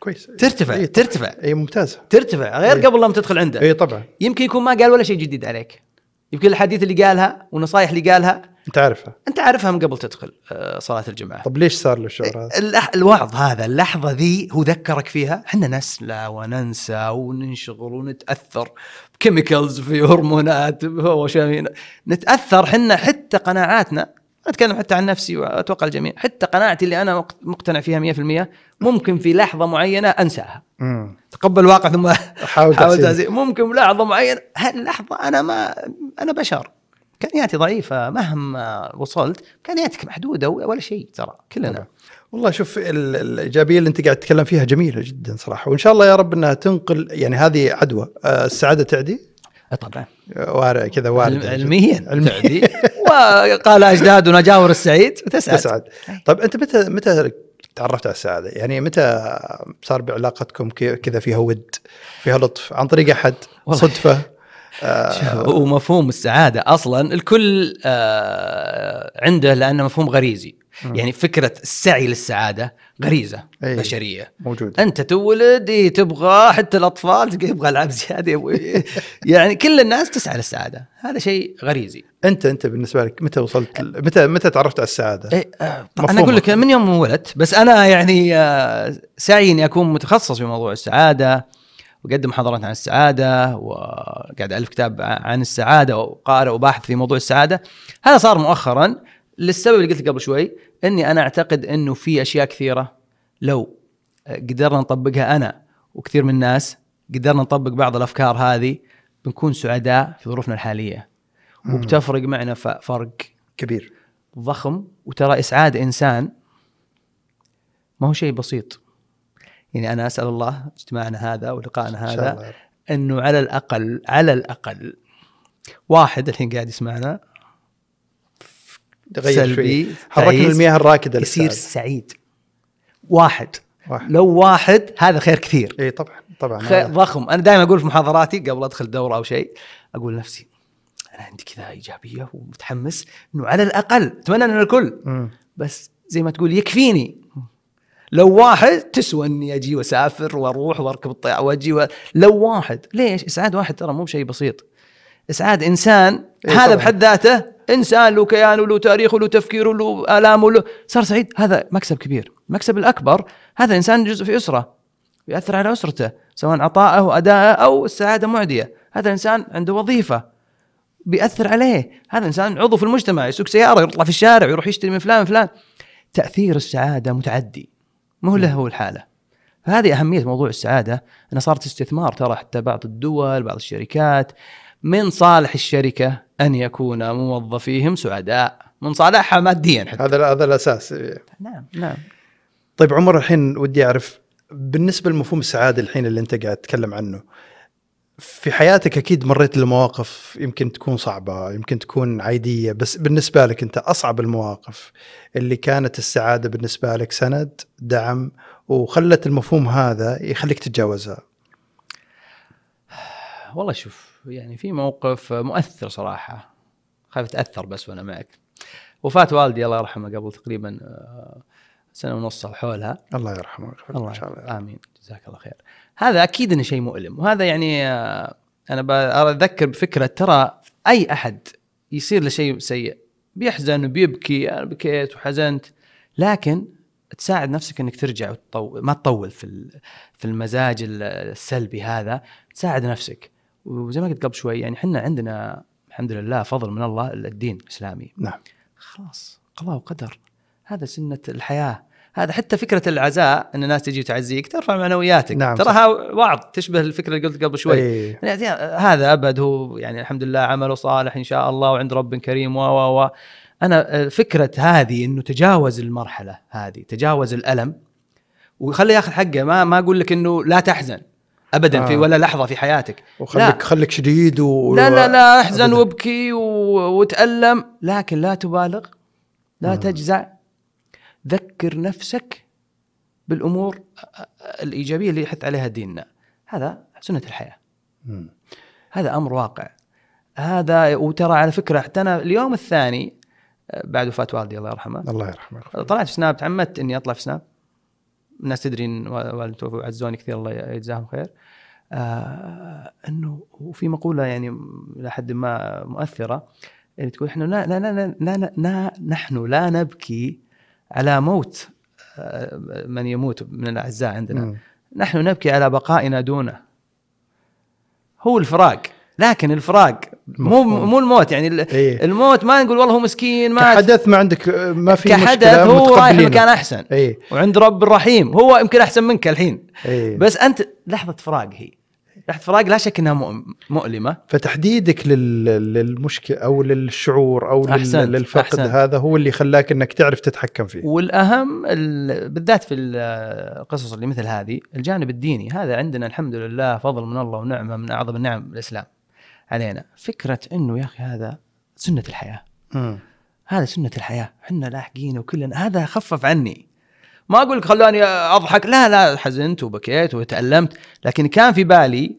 كويس ترتفع إيه، ترتفع اي ممتازه ترتفع غير إيه. قبل لا تدخل عنده اي طبعا يمكن يكون ما قال ولا شيء جديد عليك يمكن الحديث اللي قالها والنصائح اللي قالها انت عارفها انت عارفها من قبل تدخل آه، صلاه الجمعه طب ليش صار له الشعور هذا؟ اللح- الوعظ هذا اللحظة ذي هو ذكرك فيها احنا نسلى وننسى وننشغل ونتأثر بكيميكلز في هرمونات وشامين نتأثر احنا حتى قناعاتنا أتكلم حتى عن نفسي وأتوقع الجميع حتى قناعتي اللي أنا مق- مقتنع فيها 100% ممكن في لحظة معينة أنساها مم. تقبل الواقع ثم حاول حاول تحسين. تعزيز ممكن لحظه معينه هاللحظه انا ما انا بشر امكانياتي ضعيفه مهما وصلت امكانياتك محدوده ولا شيء ترى كلنا والله شوف ال- الايجابيه اللي انت قاعد تتكلم فيها جميله جدا صراحه وان شاء الله يا رب انها تنقل يعني هذه عدوى آه، السعاده تعدي طبعا آه، وارع كذا وارد علميا علمياً. تعدي [LAUGHS] وقال اجدادنا جاور السعيد وتسعد تسعد طيب انت متى متى تعرفت على السعاده؟ يعني متى صار بعلاقتكم ك- كذا فيها ود فيها لطف عن طريق احد والله. صدفه شوف، ومفهوم السعاده اصلا الكل آه، عنده لانه مفهوم غريزي مم. إيه. يعني فكره السعي للسعاده غريزه أي. بشريه موجود انت تولد إيه تبغى حتى الاطفال تلقى يبغى العاب زياده يبغى- يعني كل الناس تسعى للسعاده هذا شيء غريزي انت انت بالنسبه لك متى وصلت ل- متى متى تعرفت على السعاده؟ إيه آه، طبعاً مفهومك. انا اقول لك من يوم ما ولدت بس انا يعني آه، سعي اني اكون متخصص في موضوع السعاده واقدم محاضرات عن السعاده وقاعد الف كتاب ع- عن السعاده وقارئ وباحث في موضوع السعاده هذا صار مؤخرا للسبب اللي قلت لك قبل شوي اني انا اعتقد انه في اشياء كثيره لو آه، قدرنا نطبقها انا وكثير من الناس قدرنا نطبق بعض الافكار هذه بنكون سعداء في ظروفنا الحاليه مم. وبتفرق معنا ف- فرق كبير ضخم وترى اسعاد انسان ما هو شيء بسيط يعني انا اسال الله اجتماعنا هذا ولقائنا ان شاء هذا الله انه على الاقل على الاقل واحد الحين قاعد يسمعنا تغير شوي سلبي، حركنا تعيس، المياه الراكده يصير للسعاده سعيد واحد واحد. لو واحد هذا خير كثير اي طبعا طبعا خير هذا. ضخم انا دائما اقول في محاضراتي قبل ادخل دوره او شيء اقول لنفسي انا عندي كذا ايجابيه ومتحمس انه على الاقل اتمنى ان الكل مم. بس زي ما تقول يكفيني لو واحد تسوى اني اجي واسافر واروح واركب الطياره واجي و... لو واحد ليش؟ اسعاد واحد ترى مو بشيء بسيط اسعاد انسان إيه هذا طبعاً. بحد ذاته انسان له كيان وله تاريخ وله تفكير وله الام وله صار سعيد هذا مكسب كبير، المكسب الاكبر هذا انسان جزء في اسره ياثر على اسرته سواء عطائه وادائه او السعاده معديه، هذا انسان عنده وظيفه بياثر عليه هذا انسان عضو في المجتمع يسوق سياره يطلع في الشارع يروح يشتري من فلان فلان تاثير السعاده متعدي مو له هو الحاله فهذه اهميه موضوع السعاده انها صارت استثمار ترى حتى بعض الدول بعض الشركات من صالح الشركه ان يكون موظفيهم سعداء من صالحها ماديا حتى هذا هذا الاساس نعم نعم طيب عمر الحين ودي اعرف بالنسبه لمفهوم السعاده الحين اللي انت قاعد تتكلم عنه في حياتك اكيد مريت لمواقف يمكن تكون صعبه يمكن تكون عاديه بس بالنسبه لك انت اصعب المواقف اللي كانت السعاده بالنسبه لك سند دعم وخلت المفهوم هذا يخليك تتجاوزها والله شوف يعني في موقف مؤثر صراحه خايف اتاثر بس وانا معك وفاه والدي الله يرحمه قبل تقريبا آه، سنه ونص او حولها الله يرحمه ويغفر له الله ان شاء الله امين جزاك الله خير هذا اكيد انه شيء مؤلم وهذا يعني آه، انا ب- اتذكر بفكره ترى اي احد يصير له شيء سيء بيحزن وبيبكي انا بكيت وحزنت لكن تساعد نفسك انك ترجع وتطول ما تطول في ال- في المزاج ال- السلبي هذا تساعد نفسك وزي ما قلت قبل شوي يعني احنا عندنا الحمد لله فضل من الله الدين الاسلامي نعم خلاص قضاء وقدر هذا سنة الحياة هذا حتى فكرة العزاء ان الناس تجي تعزيك ترفع معنوياتك نعم، نعم تراها وعظ تشبه الفكرة اللي قلت قبل شوي أي. يعني هذا ابد هو يعني الحمد لله عمله صالح ان شاء الله وعند رب كريم و و و انا فكره هذه انه تجاوز المرحله هذه تجاوز الالم وخليه ياخذ حقه ما ما اقول لك انه لا تحزن ابدا آه. في ولا لحظه في حياتك وخليك خليك شديد و... لا لا لا احزن أبداً. وابكي و... وتألم لكن لا تبالغ لا مم. تجزع ذكر نفسك بالامور الايجابيه اللي يحث عليها ديننا هذا سنه الحياه مم. هذا امر واقع هذا وترى على فكره حتى انا اليوم الثاني آه، بعد وفاه والدي الله يرحمه الله يرحمه ويغفر له. طلعت في سناب تعمدت اني اطلع في سناب الناس تدري ان وال- والدي توفي وعزوني كثير الله يجزاهم خير آه انه وفي مقوله يعني م- الى حد ما مؤثره اللي تقول احنا لا لا لا لا لا لا نحن لا نبكي على موت آه، من يموت من الاعزاء عندنا مم. نحن نبكي على بقائنا دونه هو الفراق لكن الفراق مو مفهوم. مو الموت يعني ال- إيه. الموت ما نقول والله هو مسكين مات كحدث ما عندك ما في كحدث مشكلة، هو رايح متقبلينه. إيه، مكان احسن اي وعند رب الرحيم هو يمكن احسن منك الحين اي بس انت لحظه فراق هي لحظه فراق لا شك انها مؤم- مؤلمه فتحديدك لل... للمشكله او للشعور او لل... أحسنت، للفقد أحسنت. هذا هو اللي خلاك انك تعرف تتحكم فيه والاهم ال- بالذات في ال- القصص اللي مثل هذه الجانب الديني هذا عندنا الحمد لله فضل من الله ونعمه من اعظم النعم الاسلام علينا فكره انه يا اخي هذا سنه الحياه مم. هذا سنة الحياة احنا لاحقين وكلنا هذا خفف عني ما أقول لك خلاني أضحك لا لا حزنت وبكيت وتألمت لكن كان في بالي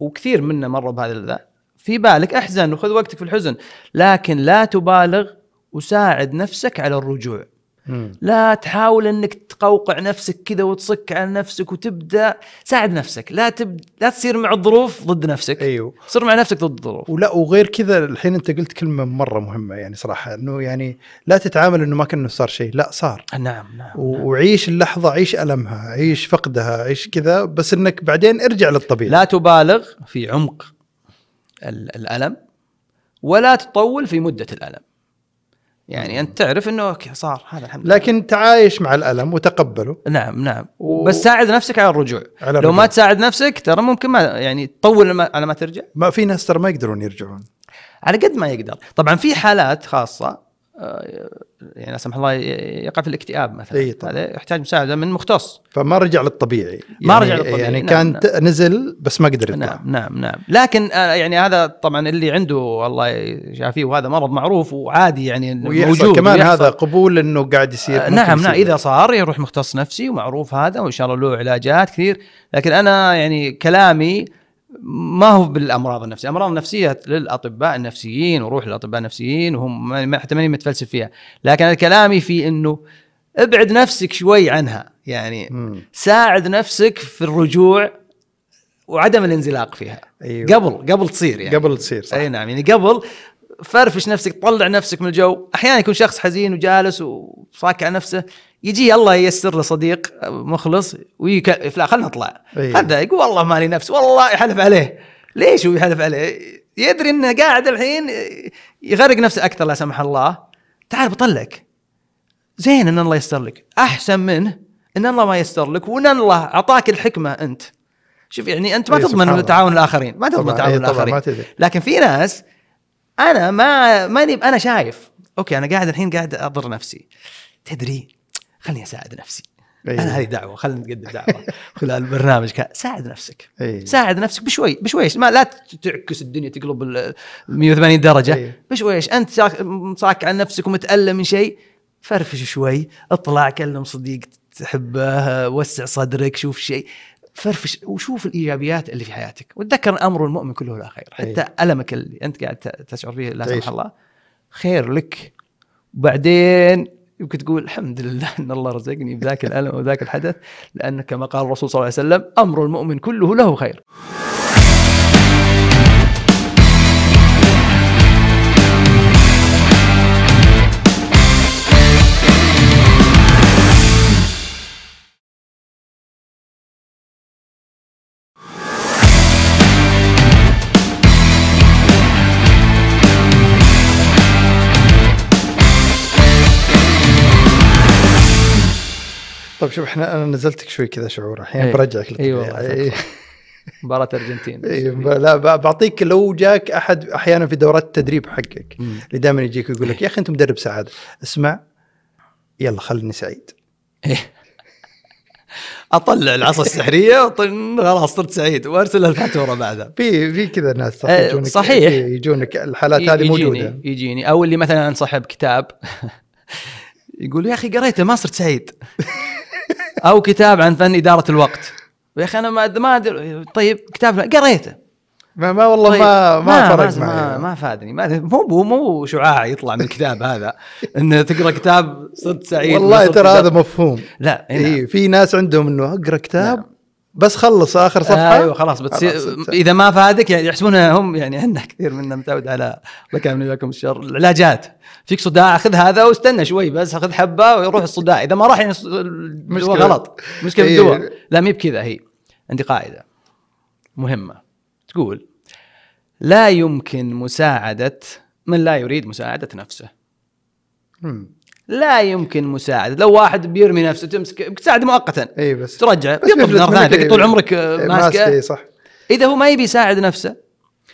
وكثير منا مروا بهذا الذا في بالك احزن وخذ وقتك في الحزن لكن لا تبالغ وساعد نفسك على الرجوع مم. لا تحاول انك تقوقع نفسك كذا وتصك على نفسك وتبدا ساعد نفسك لا تب... لا تصير مع الظروف ضد نفسك ايوه صير مع نفسك ضد الظروف ولا وغير كذا الحين انت قلت كلمه مره مهمه يعني صراحه انه يعني لا تتعامل انه ما كانه صار شيء لا صار نعم نعم و- وعيش اللحظه عيش المها عيش فقدها عيش كذا بس انك بعدين ارجع للطبيعي لا تبالغ في عمق ال- الالم ولا تطول في مده الالم يعني انت تعرف انه اوكي صار هذا الحمد لله لكن تعايش مع الالم وتقبله نعم نعم و- بس ساعد نفسك على الرجوع على لو الرجوع. ما تساعد نفسك ترى ممكن ما يعني تطول لما- على ما ترجع ما في ناس ترى ما يقدرون يرجعون على قد ما يقدر طبعا في حالات خاصه آه، يعني لا سمح الله ي- يقع في الاكتئاب مثلا إي طبعاً. هذا يحتاج مساعده من مختص فما رجع للطبيعي ما يعني رجع للطبيعي، يعني نعم، كان نعم. ت- نزل بس ما قدر يطلع نعم. نعم نعم نعم لكن آه، يعني هذا طبعا اللي عنده الله يشافيه وهذا مرض معروف وعادي يعني ويحصل موجود كمان ويحصل. هذا قبول انه قاعد يصير آه، ممكن نعم نعم يصير. اذا صار يروح مختص نفسي ومعروف هذا وان شاء الله له علاجات كثير لكن انا يعني كلامي ما هو بالامراض النفسيه، الامراض النفسيه للاطباء النفسيين وروح للاطباء النفسيين وهم يعني ما- ما- حتى ماني متفلسف فيها، لكن انا كلامي في انه ابعد نفسك شوي عنها، يعني مم. ساعد نفسك في الرجوع وعدم الانزلاق فيها ايوه قبل قبل تصير يعني قبل تصير صح اي نعم يعني قبل فرفش نفسك طلع نفسك من الجو احيانا يكون شخص حزين وجالس وصاك على نفسه يجي الله ييسر له صديق مخلص ويك لا خلنا نطلع أي. هذا يقول والله مالي نفس والله يحلف عليه ليش هو يحلف عليه يدري انه قاعد الحين يغرق نفسه اكثر لا سمح الله تعال بطلعك زين ان الله يستر لك احسن منه ان الله ما يستر لك وان الله اعطاك الحكمه انت شوف يعني انت ما أي، سبحان الله. تضمن تعاون الاخرين ما تضمن طبعاً، تعاون أي، طبعاً، الاخرين ما تدري. لكن في ناس انا ما ماني انا شايف اوكي انا قاعد الحين قاعد اضر نفسي تدري خليني اساعد نفسي أيوه. انا هذه دعوه خلينا نقدم دعوه [LAUGHS] خلال البرنامج كا- ساعد نفسك أيوه. ساعد نفسك بشوي بشويش ما لا تعكس الدنيا تقلب ال 180 درجه أيوه. بشويش انت صاك- مصاك عن نفسك ومتالم من شيء فرفش شوي اطلع كلم صديق تحبه وسع صدرك شوف شيء فرفش وشوف الايجابيات اللي في حياتك وتذكر امر المؤمن كله لا خير حتى أيوه. المك اللي انت قاعد ت- تشعر فيه لا تعيش. سمح الله خير لك وبعدين يمكن تقول الحمد لله ان الله رزقني بذاك الالم وذاك الحدث لان كما قال الرسول صلى الله عليه وسلم امر المؤمن كله له خير. طيب شوف احنا انا نزلتك شوي كذا شعور الحين أيوه. برجعك للطبيعي أيوه، أيوه. مباراه ارجنتين أيوه. لا ب- بعطيك لو جاك احد احيانا في دورات التدريب حقك مم. اللي دائما يجيك يقول لك يا اخي انت مدرب سعاده اسمع يلا خلني سعيد اطلع إيه. العصا السحريه وطن- خلاص صرت سعيد وارسل الفاتوره بعدها. في في كذا ناس صح آه، يجونك صحيح. في- يجونك الحالات هذه يجيني- موجوده يجيني او اللي مثلا صاحب كتاب [LAUGHS] يقول يا اخي قريته ما صرت سعيد [LAUGHS] او كتاب عن فن اداره الوقت يا اخي انا ما ما أدري- طيب كتاب قريته ما, ما والله طيب، ما ما فرق ما, معي ما فادني ما مو مو مو شعاع يطلع من الكتاب هذا ان تقرا كتاب صرت سعيد والله صرت ترى إدارة- هذا إيه. مفهوم لا إي نعم. اي في ناس عندهم انه اقرا كتاب نعم. بس خلص اخر صفحه ايوه خلاص بتصير انت- اذا ما فادك يعني يحسبون هم يعني عندنا كثير منا متعود على الله كامل وياكم الشر العلاجات فيك صداع خذ هذا واستنى شوي بس خذ حبه ويروح الصداع اذا ما راح يعني مشكله مشكلة. غلط مشكله إي. الدواء لا مي بكذا هي عندي قاعده مهمه تقول لا يمكن مساعده من لا يريد مساعده نفسه مم. لا يمكن مساعده لو واحد بيرمي نفسه تمسك تساعده مؤقتا اي إيه، بس ترجع بس يطلب بيفلت نار منك، إيه. ثانيه إي. طول عمرك إي، آه، ماسكه ماسكه إي، صح اذا هو ما يبي يساعد نفسه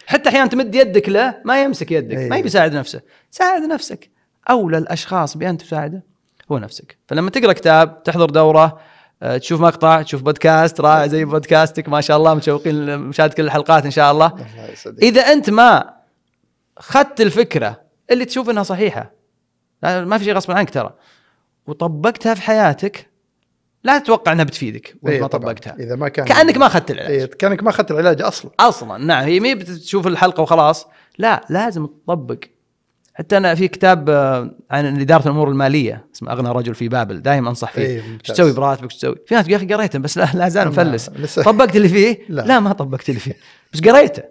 حتى احيانا تمد يدك له ما يمسك يدك أيوه. ما يبي يساعد نفسه ساعد نفسك اولى الاشخاص بان تساعده هو نفسك فلما تقرا كتاب تحضر دوره آه، تشوف مقطع تشوف بودكاست رائع زي بودكاستك ما شاء الله متشوقين لمشاهده كل الحلقات ان شاء الله الله يسعدك. اذا انت ما خدت الفكره اللي تشوف انها صحيحه لا- ما في شيء غصب عنك ترى وطبقتها في حياتك لا تتوقع انها بتفيدك وانت إي، ما إيه، طبعاً. يعني طبقتها اذا ما كان كانك ما اخذت العلاج إي، كانك ما اخذت العلاج اصلا اصلا نعم هي مي بتشوف الحلقه وخلاص لا لازم تطبق حتى انا في كتاب آه، عن اداره الامور الماليه اسمه اغنى رجل في بابل دائما انصح فيه إيه، ايش ممتاز. تسوي براتبك ايش تسوي؟ في ناس يا اخي قريته بس لا, لا زال ما- [LAUGHS] مفلس لسه. طبقت اللي فيه؟ لا. لا. لا ما طبقت اللي فيه بس قريته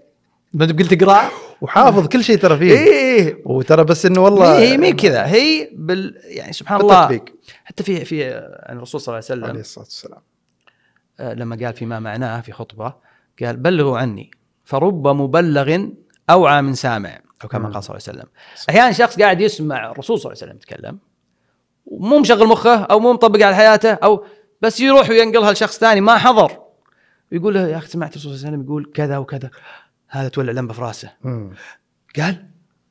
ما دام قلت اقراه وحافظ كل شيء ترى فيه اي اي وترى بس انه والله والله هي مي كذا هي بال يعني سبحان الله بالتطبيق. حتى في في آه، الرسول صلى الله عليه عليه وسلم الصلاه والسلام آه، لما قال فيما معناه في خطبه قال بلغوا عني فرب مبلغ اوعى من سامع او كما مم. قال صلى الله عليه وسلم احيانا شخص قاعد يسمع الرسول صلى الله عليه وسلم يتكلم ومو مشغل مخه او مو مطبق على حياته او بس يروح وينقلها لشخص ثاني ما حضر ويقول له يا اخي سمعت الرسول صلى الله عليه وسلم يقول كذا وكذا هذا تولع لمبه في راسه مم. قال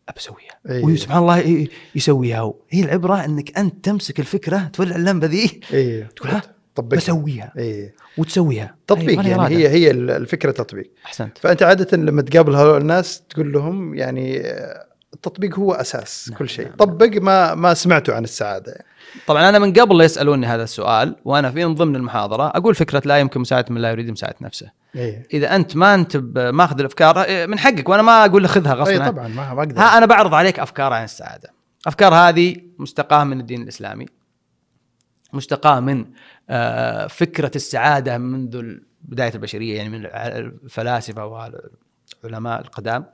ابى اسويها إيه. وسبحان الله ي- يسويها هو هي العبره انك انت تمسك الفكره تولع اللمبه ذي اي تقول ها إيه، طبق بسويها اي وتسويها تطبيق أيوة، يعني إرادة. هي هي الفكره تطبيق احسنت فانت عاده لما تقابل هؤلاء الناس تقول لهم يعني آه، التطبيق هو اساس نعم، كل شيء نعم. طبق ما ما سمعته عن السعاده يعني. طبعا انا من قبل لا يسالوني هذا السؤال وانا في من ضمن المحاضره اقول فكره لا يمكن مساعده من لا يريد مساعده نفسه ايه اذا انت ما انت ب- ماخذ الافكار إيه، من حقك وانا ما اقول لك خذها غصبا اي عنك. طبعا إيه، ما ما اقدر ها انا بعرض عليك افكار عن السعاده افكار هذه مستقاه من الدين الاسلامي مستقاه من آه، فكره السعاده منذ ال- بدايه البشريه يعني من الع- الفلاسفه والعلماء القدام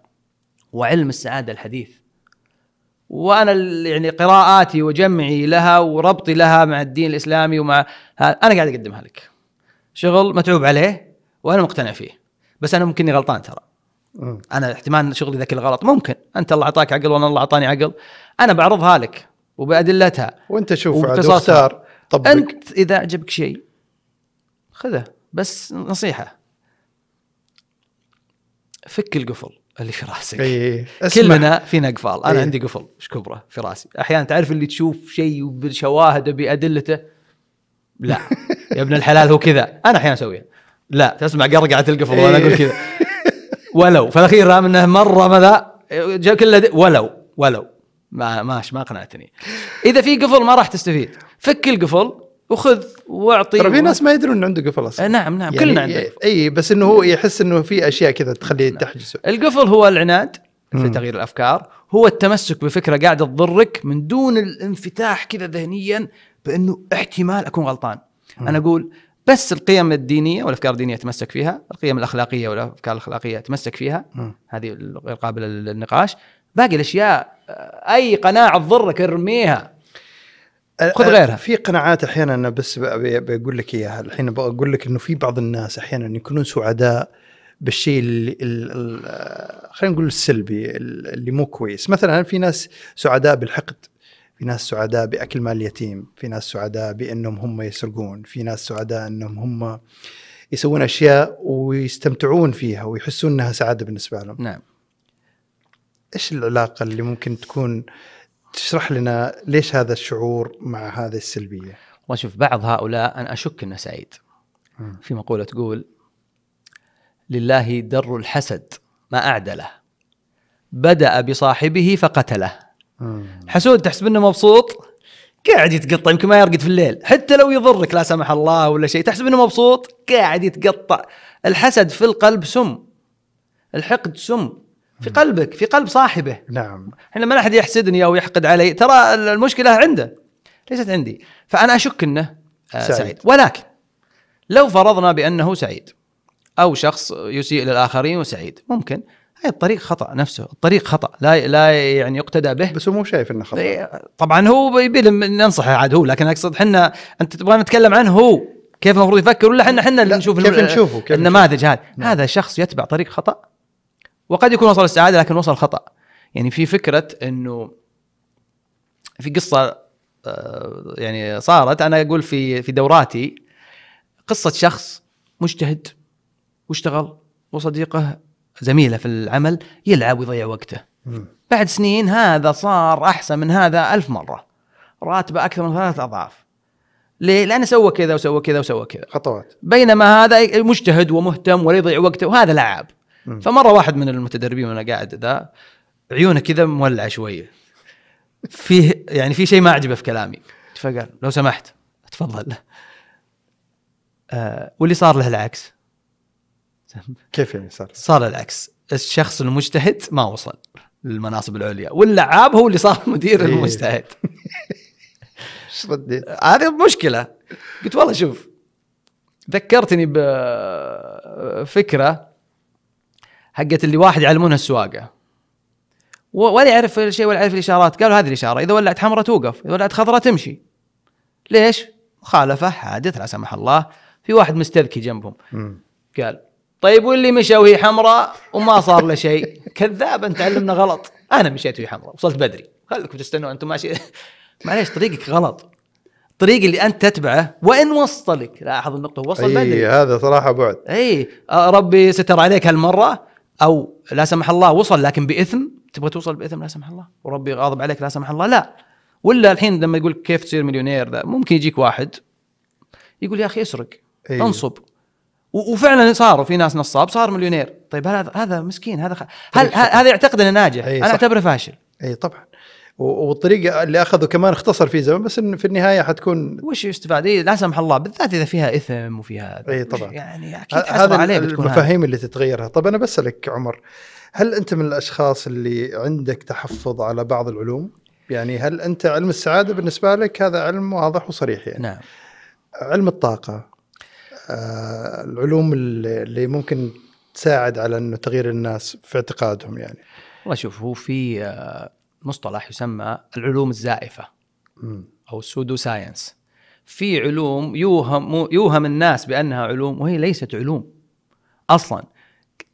وعلم السعاده الحديث وانا ال- يعني قراءاتي وجمعي لها وربطي لها مع الدين الاسلامي ومع ها- انا قاعد اقدمها لك شغل متعوب عليه وانا مقتنع فيه بس انا ممكن إني غلطان ترى مم. انا احتمال ان شغلي ذاك الغلط ممكن انت الله اعطاك عقل وانا الله اعطاني عقل انا بعرضها لك وبادلتها وانت شوف عاد وبقصصها. واختار طبق انت اذا عجبك شيء خذه بس نصيحه فك القفل اللي في راسك اي كلنا فينا قفال انا إيه. عندي قفل مش كبره في راسي احيانا تعرف اللي تشوف شيء بشواهده بادلته [LAUGHS] لا يا ابن الحلال هو كذا انا احيانا اسويها لا تسمع قرقعه القفل وانا إيه. اقول [LAUGHS] كذا ولو فالاخير رغم انه مره ماذا جا كله د- ولو ولو ما ماش ما اقنعتني اذا في قفل ما راح تستفيد فك القفل وخذ واعطي ترى في و- ناس يعني ما يدرون انه عنده قفل آه، اصلا نعم نعم كلنا عندنا نعم. قفل. اي إيه، بس انه هو يحس انه في اشياء كذا تخليه تحجزه القفل هو العناد في مم. تغيير الافكار هو التمسك بفكره قاعده تضرك من دون الانفتاح كذا ذهنيا بانه احتمال اكون غلطان انا اقول بس القيم الدينيه والافكار الدينيه اتمسك فيها القيم الاخلاقيه والافكار الاخلاقيه اتمسك فيها مم. هذه غير قابله للنقاش باقي الاشياء آه، اي قناعه تضرك ارميها خذ أ- أ- غيرها. آه، في قناعات احيانا أنا بس ب- ب- بقول لك اياها الحين بقول لك انه في بعض الناس احيانا يكونون سعداء بالشيء اللي ال- ال- آه، خلينا نقول السلبي ال- اللي مو كويس مثلا في ناس سعداء بالحقد في ناس سعداء باكل مال اليتيم في ناس سعداء بانهم هم يسرقون في ناس سعداء انهم هم يسوون اشياء ويستمتعون فيها ويحسون انها سعاده بالنسبه لهم نعم ايش العلاقه اللي ممكن تكون تشرح لنا ليش هذا الشعور مع هذه السلبيه واشوف بعض هؤلاء انا اشك انه سعيد مم. في مقوله تقول لله در الحسد ما اعدله بدا بصاحبه فقتله حسود تحسب انه مبسوط قاعد يتقطع يمكن ما يرقد في الليل حتى لو يضرك لا سمح الله ولا شيء تحسب انه مبسوط قاعد يتقطع الحسد في القلب سم الحقد سم في قلبك في قلب صاحبه نعم احنا لما احد يحسدني او يحقد علي ترى المشكله عنده ليست عندي فانا اشك انه آه، سعيد. سعيد. سعيد ولكن لو فرضنا بانه سعيد او شخص يسيء للاخرين وسعيد ممكن هاي الطريق خطا نفسه الطريق خطا لا لا يعني يقتدى به بس هو مو شايف انه خطا إيه، طبعا هو يبي لنا ننصحه عاد هو لكن اقصد حنا انت تبغى نتكلم عنه هو كيف المفروض يفكر ولا حنا حنا اللي لا، نشوف كيف الم- نشوفه؟ كيف النماذج هذه نعم. هذا شخص يتبع طريق خطا وقد يكون وصل السعاده لكن وصل خطا يعني في فكره انه في قصه آه، يعني صارت انا اقول في في دوراتي قصه شخص مجتهد واشتغل وصديقه زميله في العمل يلعب ويضيع وقته مم. بعد سنين هذا صار أحسن من هذا ألف مرة راتبه أكثر من ثلاث أضعاف ليه؟ لأنه سوى كذا وسوى كذا وسوى كذا خطوات بينما هذا مجتهد ومهتم ولا يضيع وقته وهذا لعاب مم. فمرة واحد من المتدربين وأنا قاعد ذا عيونه كذا مولعة شوية فيه يعني في شيء ما عجبه في كلامي فقال لو سمحت تفضل آه واللي صار له العكس كيف يعني صار؟ صار العكس الشخص المجتهد ما وصل للمناصب العليا واللعاب هو اللي صار مدير إيه. المجتهد ايش رديت؟ هذه مشكله قلت والله شوف ذكرتني بفكره حقت اللي واحد يعلمونها السواقه و- ولا يعرف شيء ولا يعرف الاشارات قالوا هذه الاشاره اذا ولعت حمراء توقف اذا ولعت خضراء تمشي ليش مخالفه حادث لا سمح الله في واحد مستذكي جنبهم مم. قال طيب واللي مشى وهي حمراء وما صار له شيء كذاب انت علمنا غلط انا مشيت وهي حمراء وصلت بدري خليكم تستنوا انتم ماشي [LAUGHS] معليش طريقك غلط الطريق اللي انت تتبعه وان وصلك لاحظ النقطه وصل اي بدري إيه، هذا صراحه بعد اي آه، ربي ستر عليك هالمره او لا سمح الله وصل لكن باثم تبغى توصل باثم لا سمح الله وربي غاضب عليك لا سمح الله لا ولا الحين لما يقول كيف تصير مليونير ذا ممكن يجيك واحد يقول يا اخي اسرق أيوه. انصب و- وفعلا صاروا في ناس نصاب صار مليونير طيب هل هذا هذا مسكين هذا خ... هل طيب، هل- هذا يعتقد انه ناجح أي، انا صح. اعتبره فاشل اي طبعا إيه، و- والطريقه اللي اخذوا كمان اختصر في زمن بس إن في النهايه حتكون وش يستفاد إيه لا سمح الله بالذات اذا فيها اثم وفيها أي، وش- طبعاً. يعني اكيد ه- حسب هذا عليه بتكون هذه. المفاهيم اللي تتغيرها طب انا بسالك عمر هل انت من الاشخاص اللي عندك تحفظ على بعض العلوم يعني هل انت علم السعاده بالنسبه لك هذا علم واضح وصريح يعني نعم علم الطاقه آه العلوم اللي اللي ممكن تساعد على انه تغيير الناس في اعتقادهم يعني والله شوف هو في آه، مصطلح يسمى العلوم الزائفه مم. او السودو ساينس في علوم يوهم يوهم الناس بانها علوم وهي ليست علوم اصلا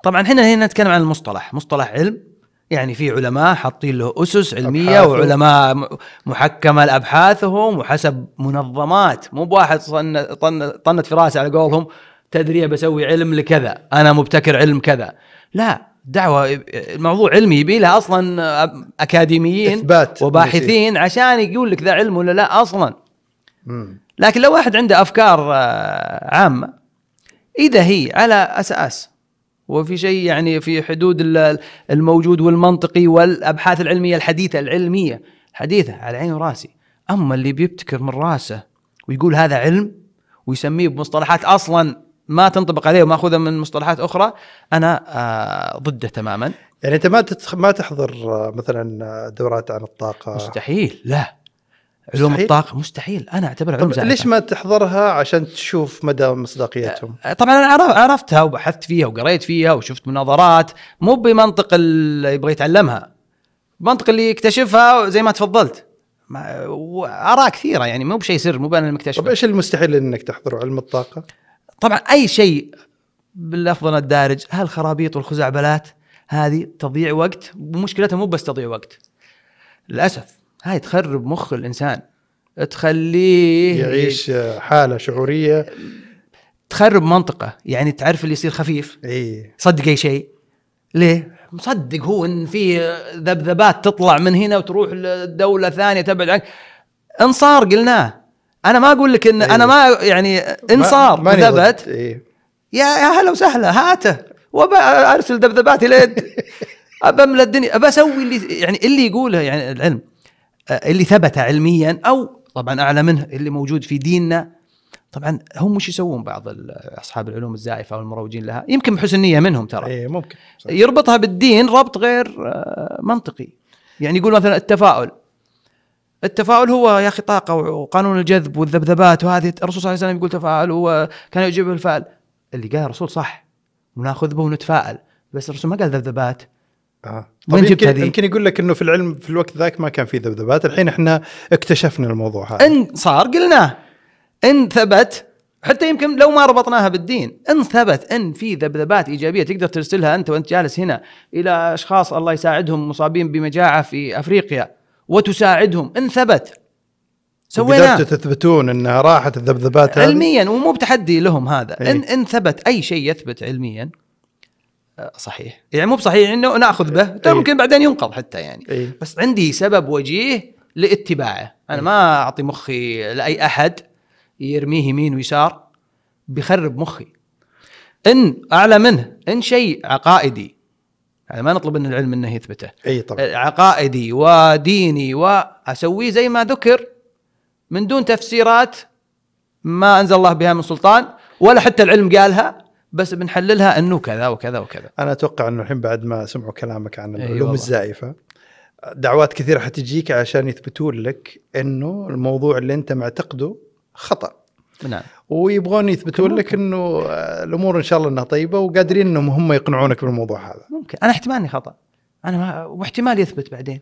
طبعا احنا هنا نتكلم عن المصطلح مصطلح علم يعني في علماء حاطين له اسس علميه أبحاثه. وعلماء م- محكمه لابحاثهم وحسب منظمات مو بواحد صن- طن طنت في راسه على قولهم تدري بسوي علم لكذا انا مبتكر علم كذا لا دعوه الموضوع علمي يبي لها اصلا أب- اكاديميين إثبات وباحثين عشان يقول لك ذا علم ولا لا اصلا مم. لكن لو واحد عنده افكار آه، عامه اذا هي على اساس وفي شيء يعني في حدود ال- الموجود والمنطقي والابحاث العلميه الحديثه العلميه الحديثه على عيني وراسي اما اللي بيبتكر من راسه ويقول هذا علم ويسميه بمصطلحات اصلا ما تنطبق عليه وماخوذه من مصطلحات اخرى انا آه ضده تماما يعني انت ما تتخ... ما تحضر آه، مثلا آه، دورات عن الطاقه مستحيل لا علوم مستحيل؟ الطاقه مستحيل انا اعتبرها علم طب زائفة. ليش ما تحضرها عشان تشوف مدى مصداقيتهم طبعا انا عرف- عرفتها وبحثت فيها وقريت فيها وشفت مناظرات مو بمنطق اللي يبغى يتعلمها منطق اللي يكتشفها زي ما تفضلت ما- واراء كثيره يعني مو بشيء سر مو انا طب المكتشف ايش المستحيل انك تحضره علم الطاقه؟ طبعا اي شيء بالافضل الدارج هالخرابيط والخزعبلات هذه تضيع وقت ومشكلتها مو بس تضيع وقت للاسف هاي تخرب مخ الانسان تخليه يعيش آه، حاله شعوريه تخرب منطقه يعني تعرف اللي يصير خفيف اي صدق اي شيء ليه مصدق هو ان في ذبذبات تطلع من هنا وتروح لدوله ثانيه تبعد عنك انصار قلناه انا ما اقول لك ان أيوة. انا ما يعني انصار ما- ماني ضد. وذبت إيه. يا يا هلا وسهلا هاته وبا ارسل [LAUGHS] ذبذبات الى بملى الدنيا بسوي اللي يعني اللي يقوله يعني العلم آه، اللي ثبت علميا او طبعا اعلى منه اللي موجود في ديننا طبعا هم وش يسوون بعض ال- اصحاب العلوم الزائفه او المروجين لها يمكن بحسن نيه منهم ترى اي إيه، ممكن صح. يربطها بالدين ربط غير آه، منطقي يعني يقول مثلا التفاؤل التفاؤل هو يا اخي طاقه وقانون الجذب والذبذبات وهذه الرسول صلى الله عليه وسلم يقول تفاؤل وكان يعجبه الفعل اللي قال الرسول صح وناخذ به ونتفائل بس الرسول ما قال ذبذبات آه. وين طيب جبت يمكن هذه؟ يمكن يقول لك انه في العلم في الوقت ذاك ما كان في ذبذبات الحين احنا اكتشفنا الموضوع هذا ان صار قلناه ان ثبت حتى يمكن لو ما ربطناها بالدين ان ثبت ان في ذبذبات ايجابيه تقدر ترسلها انت وانت جالس هنا الى اشخاص الله يساعدهم مصابين بمجاعه في افريقيا وتساعدهم ان ثبت سوينا سويناه تثبتون انها راحت الذبذبات هذه علميا ومو بتحدي لهم هذا إيه. ان ان ثبت اي شيء يثبت علميا آه، صحيح يعني مو بصحيح انه ناخذ به ترى إيه. ممكن بعدين ينقض حتى يعني إيه. بس عندي سبب وجيه لاتباعه انا ما اعطي مخي لاي احد يرميه يمين ويسار بيخرب مخي ان اعلى منه ان شيء عقائدي يعني ما نطلب من العلم انه يثبته اي إيه. طبعا عقائدي وديني واسويه زي ما ذكر من دون تفسيرات ما انزل الله بها من سلطان ولا حتى العلم قالها بس بنحللها انه كذا وكذا وكذا انا اتوقع انه الحين بعد ما سمعوا كلامك عن إي العلوم إيه، والله. الزائفه دعوات كثيره حتجيك عشان يثبتون لك انه الموضوع اللي انت معتقده خطا نعم ويبغون يثبتون لك انه آه، الامور ان شاء الله انها طيبه وقادرين انهم هم يقنعونك بالموضوع هذا ممكن انا احتمال اني خطا انا ما واحتمال يثبت بعدين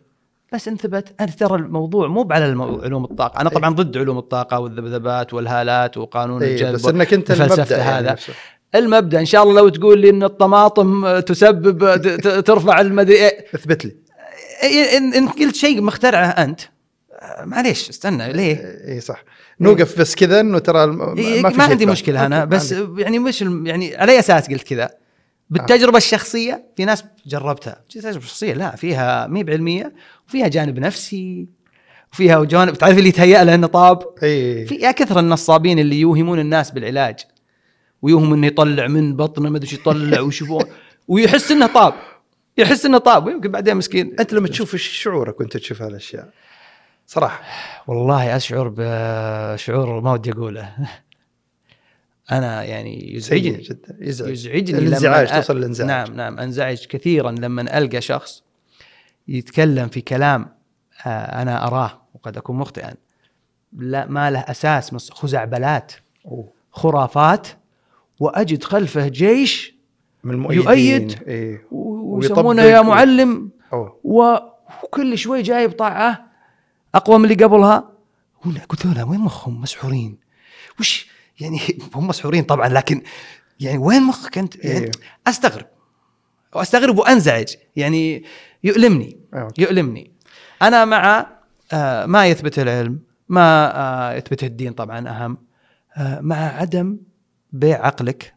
بس ان ثبت انت ترى الموضوع مو على المو... علوم الطاقه انا طبعا ضد علوم الطاقه والذبذبات والهالات وقانون إيه الجذب بس انك انت وفلسفة المبدا يعني هذا. نفسه. المبدا ان شاء الله لو تقول لي ان الطماطم آه، تسبب آه، ت- ت- ترفع المدري إيه، اثبت لي إيه، ان ان قلت شيء مخترعه انت آه، معليش استنى ليه؟ اي إيه، صح نوقف بس كذا انه ترى الم- إيه، ما, في ما شيء عندي ثاني. مشكله انا أوكي، ما بس عندي. يعني مش الم- يعني على أي اساس قلت كذا؟ بالتجربه الشخصيه في ناس جربتها في تجربه شخصيه لا فيها ما هي بعلميه وفيها جانب نفسي وفيها جانب تعرف اللي يتهيأ له انه طاب اي في يا كثر النصابين اللي يوهمون الناس بالعلاج ويوهم انه يطلع من بطنه ما ادري شو يطلع ويشوفون [LAUGHS] ويحس انه طاب يحس انه طاب ويمكن بعدين مسكين انت إيه. لما تشوف ايش شعورك وانت تشوف هالاشياء صراحه والله اشعر بشعور ما ودي [LAUGHS] اقوله انا يعني سيء يزعجني جدا يزعج يزعجني لما الانزعاج أ- توصل للانزعاج نعم نعم انزعج كثيرا لما القى شخص يتكلم في كلام آه، انا اراه وقد اكون مخطئا لا ما له اساس مس- خزعبلات أوه. خرافات واجد خلفه جيش من المؤيدين يؤيد. إيه. و- ويطبق ويسمونه يا و- معلم أوه. و- وكل شوي جايب طاعه اقوى من اللي قبلها وأنا قلت له وين مخهم مسحورين؟ وش يعني [LAUGHS] هم مسحورين طبعا لكن يعني وين مخك انت؟ يعني إيه. استغرب واستغرب وانزعج يعني يؤلمني أوه. يؤلمني انا مع آه، ما يثبت العلم ما آه، يثبت الدين طبعا اهم آه، مع عدم بيع عقلك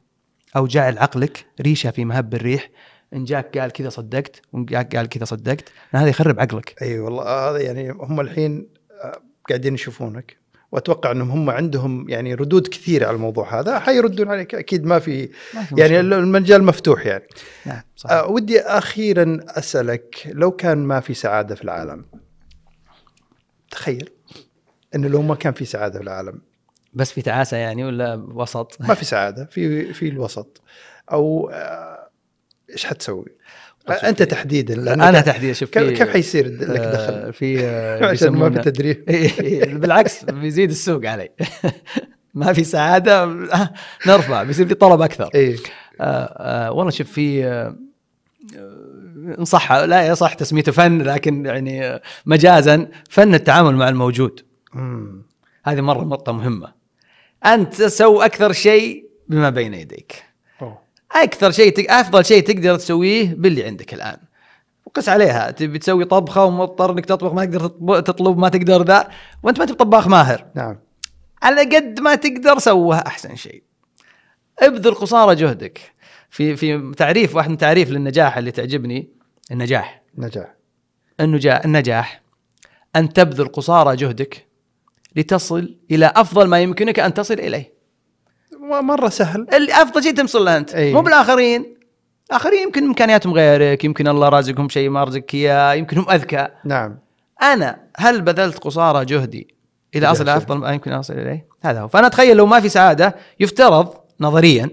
او جعل عقلك ريشه في مهب الريح ان جاك قال كذا صدقت وان جاك قال كذا صدقت لأن هذا يخرب عقلك اي والله هذا يعني هم الحين آه، قاعدين يشوفونك واتوقع انهم هم عندهم يعني ردود كثيره على الموضوع هذا حيردون عليك اكيد ما في ما في يعني مشكلة. المجال مفتوح يعني نعم صحيح. آه ودي اخيرا اسالك لو كان ما في سعاده في العالم تخيل انه لو ما كان في سعاده في العالم بس في تعاسه يعني ولا وسط ما في سعاده في في الوسط او آه، ايش حتسوي؟ آه، انت تحديدا لأنك- انا تحديدا شوف كيف في- كيف حيصير لك إيه؟ آه، دخل؟ في آه، [LAUGHS] عشان ما في يسمونه- تدريب إيه، إيه، بالعكس بيزيد السوق علي [LAUGHS] ما في سعاده آه، نرفع بيصير في طلب اكثر ايه آه، آه، والله شوف في آه، آه، ان صح لا يصح تسميته فن لكن يعني آه، مجازا فن التعامل مع الموجود مم. هذه مره نقطه مهمه انت تسوي اكثر شيء بما بين يديك أوه. اكثر شيء تق... افضل شيء تقدر تسويه باللي عندك الان وقس عليها تبي تسوي طبخه ومضطر انك تطبخ ما تقدر تطب- تطلب ما تقدر ذا وانت ما تبي طباخ ماهر نعم على قد ما تقدر سوها احسن شيء ابذل قصارى جهدك في في تعريف واحد من تعريف للنجاح اللي تعجبني النجاح نجاح انه جاء النجاح ان تبذل قصارى جهدك لتصل الى افضل ما يمكنك ان تصل اليه م- مره سهل اللي افضل شيء تمصل له انت أي. مو بالاخرين الاخرين يمكن امكانياتهم غيرك يمكن الله رازقهم شيء ما رزقك اياه يمكن هم اذكى نعم انا هل بذلت قصارى جهدي الى تجاه اصل شيء. افضل ما يمكن اصل اليه هذا هو فانا اتخيل لو ما في سعاده يفترض [LAUGHS] نظريا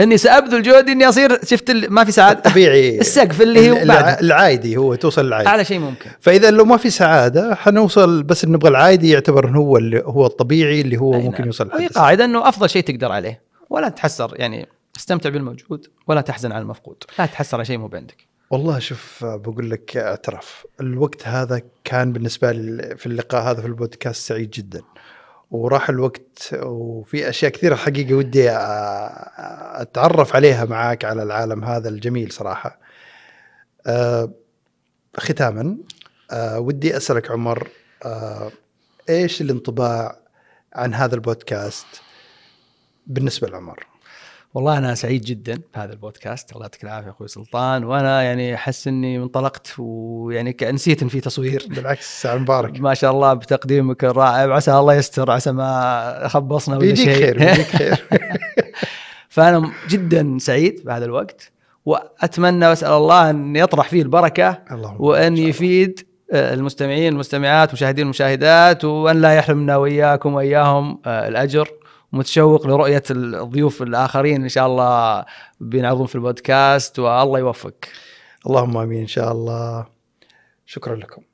اني سابذل جهدي اني اصير شفت ال- ما في [LAUGHS] سعاده طبيعي [LAUGHS] السقف اللي هو الع- بعده. العادي هو توصل العادي اعلى شيء ممكن فاذا لو ما في سعاده حنوصل بس نبغى العادي يعتبر إنه هو اللي هو الطبيعي اللي هو أي ممكن نعم. يوصل وهي لحد قاعده انه افضل شيء تقدر عليه ولا تحسر يعني استمتع بالموجود ولا تحزن على المفقود لا تحسر على شيء مو بعندك والله شوف بقول لك اعتراف الوقت هذا كان بالنسبه لي في اللقاء هذا في البودكاست سعيد جدا وراح الوقت وفي اشياء كثيره حقيقه ودي أ- اتعرف عليها معاك على العالم هذا الجميل صراحه أه، ختاما أه، ودي اسالك عمر أه، ايش الانطباع عن هذا البودكاست بالنسبه لعمر والله انا سعيد جدا بهذا البودكاست الله يعطيك العافيه اخوي سلطان وانا يعني احس اني انطلقت ويعني ك- نسيت ان في تصوير بالعكس ساعه مبارك ما شاء الله بتقديمك الرائع عسى الله يستر عسى ما خبصنا ولا بيجيك شيء خير [LAUGHS] بيجيك خير فانا جدا سعيد بهذا الوقت واتمنى واسال الله ان يطرح فيه البركه اللهم وان إن شاء الله. يفيد آه، المستمعين والمستمعات مشاهدين المشاهدات وان لا يحرمنا واياكم واياهم آه، الاجر متشوق لرؤيه الضيوف الاخرين ان شاء الله بينعرضون في البودكاست والله يوفقك اللهم امين ان شاء الله شكرا لكم